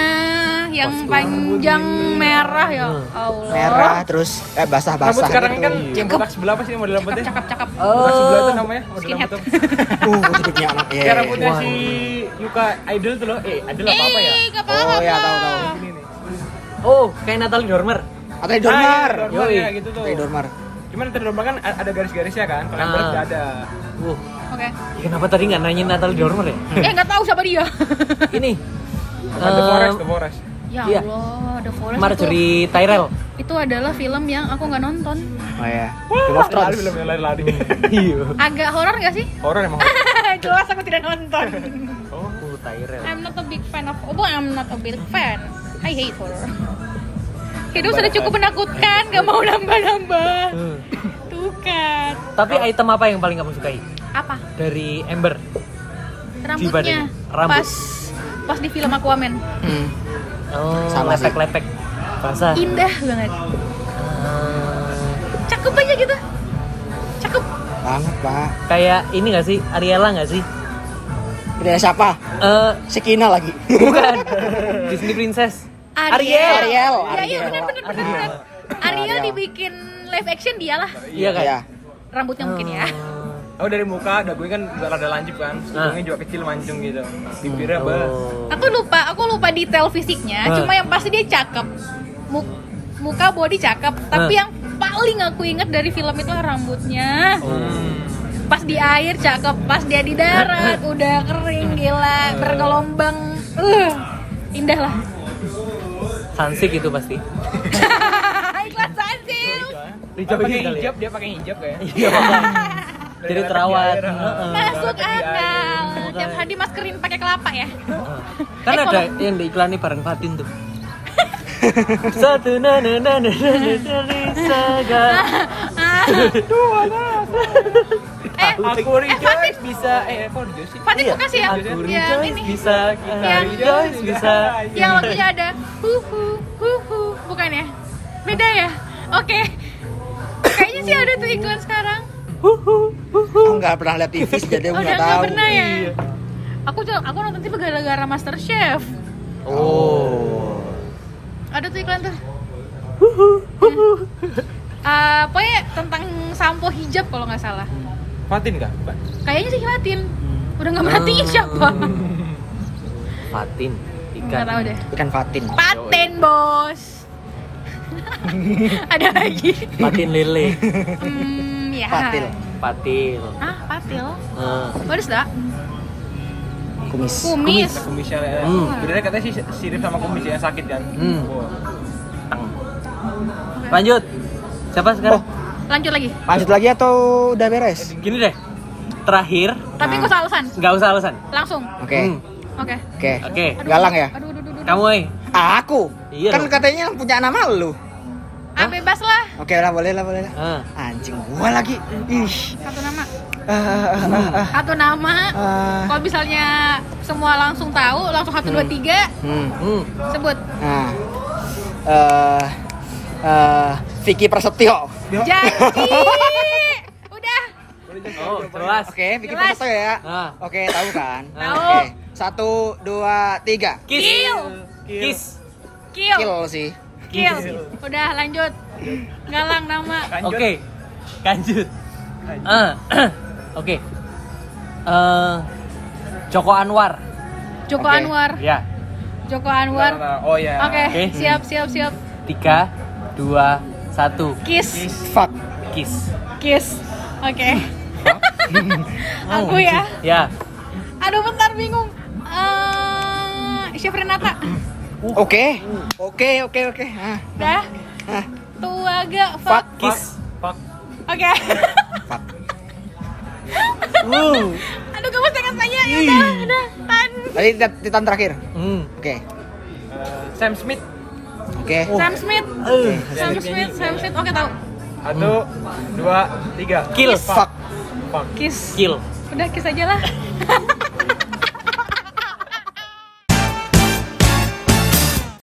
S3: yang panjang merah ya
S1: Hmm.
S3: Allah.
S1: Merah terus eh
S4: Rambut
S1: basah-basah
S4: sekarang
S1: gitu.
S4: kan yang botak sebelah apa sih model rambutnya?
S3: Cakep cakep.
S1: Nah,
S3: Oh.
S4: Botak sebelah tuh namanya model
S3: Skinhead.
S4: rambut tuh.
S1: [laughs] Uh, hidupnya
S4: [laughs]
S1: anak. Iya.
S4: Kayak rambutnya si Yuka Idol tuh loh. Eh, Idol apa apa ya?
S3: Eh, nggak apa-apa.
S1: Oh, ya tahu tahu.
S4: Ini nih.
S2: oh kayak Natalie Dormer
S1: Atau di Dormar. Oh,
S4: Ah, iya, Dormar ya,
S2: Yoi.
S4: gitu tuh.
S1: Di Dormar.
S4: Cuman di Dormar kan ada garis-garisnya kan. Pakai
S2: Ah.
S4: berat nggak ada.
S2: Wuh, ya
S3: Oke.
S2: kenapa tadi nggak nanyain Natalie Dormer
S1: [laughs]
S2: ya
S3: Eh nggak tahu siapa dia.
S2: ini
S4: The
S2: eh,
S4: Forest, The Forest.
S3: ya
S2: Iya.
S3: Allah, The Forest itu,
S2: Marjorie Tyrell
S3: itu adalah film yang aku nggak nonton.
S1: Oh iya. Game of
S4: Lari
S1: Thrones.
S4: belum yang lari-lari.
S2: [laughs] iya
S3: Agak horor nggak sih?
S4: Horor emang. horor.
S3: [laughs] Jelas aku tidak nonton.
S4: Oh.
S2: oh Tyrell
S3: I'm not a big fan of. Oh, bukan, I'm not a big fan. I hate horror. Hidup sudah cukup menakutkan, gak mau nambah-nambah.
S2: Hmm.
S3: Tuh kan.
S2: tapi item apa yang paling kamu sukai
S3: Apa?
S2: dari Ember
S3: Rambutnya.
S2: badannya. Rambut.
S3: Pas pas di film Aquaman.
S1: Hmm.
S2: oh
S1: Sama sih.
S2: lepek-lepek basah
S3: Indah banget.
S2: Eh,
S3: Cakep aja gitu. Cakep.
S1: Banget, Pak.
S2: kayak ini nggak sih Ariella nggak sih
S1: Ini ada siapa?
S2: Eh,
S1: Si Kina lagi.
S2: bukan Disney Princess Ariel.
S1: Ariel.
S3: Ya iya
S1: Ariel.
S3: benar benar benar. Ariel dibikin live action dialah.
S2: iya kan
S1: Iya.
S3: Rambutnya mungkin ya.
S4: Oh dari muka dagunya kan nggak rada lancip kan, hidungnya juga kecil mancung gitu. Bibirnya
S2: Ah. Oh.
S4: bah.
S3: Aku lupa, aku lupa detail fisiknya.
S2: Ah.
S3: Cuma yang pasti dia cakep. Mu- Muka body cakep, tapi
S2: Ah.
S3: yang paling aku inget dari film itu rambutnya. Pas di air cakep, pas dia di darat udah kering gila, bergelombang. Uh, indah lah. [laughs]
S2: Sansik itu pasti
S3: Iklan Sansil.
S4: Dia pakai
S2: kali ya?
S4: hijab, dia pakai hijab kayak.
S2: Iya, Pak. Jadi terawat. Heeh.
S3: Masuk akal. Tiap hari maskerin pakai kelapa ya.
S2: Kan
S3: Eh,
S2: ada yang diiklani bareng Fatin
S3: [laughs]
S2: tuh. Satu na na na na na na dari segala.
S3: Ah, eh,
S4: Aku rejoice bisa eh kok rejoice sih?
S3: Fatin aku kasih ya.
S2: Aku
S3: Yang
S2: rejoice
S3: ini.
S2: bisa, kita
S3: Yang-
S2: rejoice bisa.
S3: yang lagunya ada huhu huhu bukan ya beda ya oke kayaknya sih ada tuh iklan sekarang
S1: Aku nggak pernah lihat
S2: [laughs]
S1: TV sih, jadi
S3: udah
S1: aku Iya, nggak
S3: nggak
S1: tahu. Iya.
S3: pernah ya aku tuh aku nonton TV gara-gara Master Chef
S1: Oh.
S3: ada tuh iklan tuh Ah, pokoknya tentang sampo hijab kalau nggak salah
S4: Fatin nggak?
S3: kayaknya sih Latin udah nggak
S1: Ah.
S3: mati siapa
S2: Fatin, ikan.
S3: nggak tahu deh
S1: Ikan Fatin.
S3: paten
S1: [laughs]
S3: bos ada lagi
S2: Patin
S3: [laughs]
S2: lele,
S3: hmm, ya
S1: Patil.
S2: patil.
S3: ah patil
S2: Heeh.
S3: What is that?
S1: Kumis.
S3: Kumis.
S4: Kumisnya ya.
S2: Hmm.
S4: Sebenarnya katanya sih sirip sama kumis yang sakit kan.
S2: Hmm.
S4: Wah.
S2: Teng. Lanjut. Siapa sekarang?
S3: Lanjut lagi.
S1: Lanjut lagi atau udah beres?
S2: Oh, Gini deh. Terakhir,
S3: Tapi
S1: Nah.
S3: gue usah alasan.
S2: nggak usah alasan.
S3: Langsung.
S1: Oke.
S2: Hmm.
S3: Oke.
S1: Oke.
S2: Oke.
S3: Aduh,
S1: Galang ya?
S3: Aduh, aduh, aduh, aduh.
S2: Kamu, eh.
S1: Ah, aku.
S2: Iya
S1: Kan
S2: dong.
S1: katanya yang punya nama lu.
S3: Ah, bebas lah.
S1: Oke lah, boleh lah, boleh lah.
S2: Heeh.
S1: Anjing gua lagi. Ih.
S3: Satu nama.
S1: Ah, ah, ah, ah.
S3: Satu nama.
S1: Ah.
S3: Kalau misalnya semua langsung tahu, langsung satu dua tiga
S1: Hmm.
S2: Hmm.
S3: sebut.
S1: Nah. Eh eh Vicky Prasetyo.
S3: Janji. Udah.
S2: Oh, jelas.
S1: Oke, Vicky
S3: Jelas.
S1: Prasetyo ya.
S2: Ah.
S1: Oke, tahu kan?
S2: Tahu.
S1: Oke. Satu, dua, tiga.
S2: Kiss.
S3: Kill.
S2: Kiss.
S3: Kill.
S1: Kill sih.
S3: Kill. Udah lanjut. Galang nama.
S4: Lanjut.
S2: Oke. Lanjut.
S4: Lanjut.
S2: Ah, [clears throat] Oke. Eh, Joko Anwar.
S3: Joko
S1: Oke.
S3: Anwar.
S2: Ya.
S3: Joko
S4: Bentar,
S3: Anwar.
S4: bentar. Oh ya.
S3: Oke,
S2: Oke.
S3: siap siap siap.
S2: Tiga, dua, satu.
S3: Kiss.
S1: Fuck.
S2: Kiss.
S3: Kiss. Oke. Aku ya.
S2: Ya.
S3: Aduh bentar bingung. Eh, Chef Renata.
S1: Oke. Oke, oke, oke. Ah,
S3: Dah.
S1: ah.
S3: Tua gak
S1: Fuck.
S3: fuck.
S2: Kiss.
S4: Fuck.
S3: Oke. [laughs]
S1: Fuck.
S2: Wow.
S3: Aduh kamu pengen tanya ya udah, udah. Tan.
S1: Tadi tit- titan terakhir.
S2: Hmm.
S1: Oke.
S4: Sam Smith.
S1: Oke.
S3: Sam Smith.
S2: Eh,
S3: Sam Smith, Sam Smith. Oke tahu.
S4: Satu, dua, tiga.
S2: Hmm. Kill.
S1: Fuck.
S4: Fuck.
S3: kiss
S2: Kill.
S3: udah kiss aja lah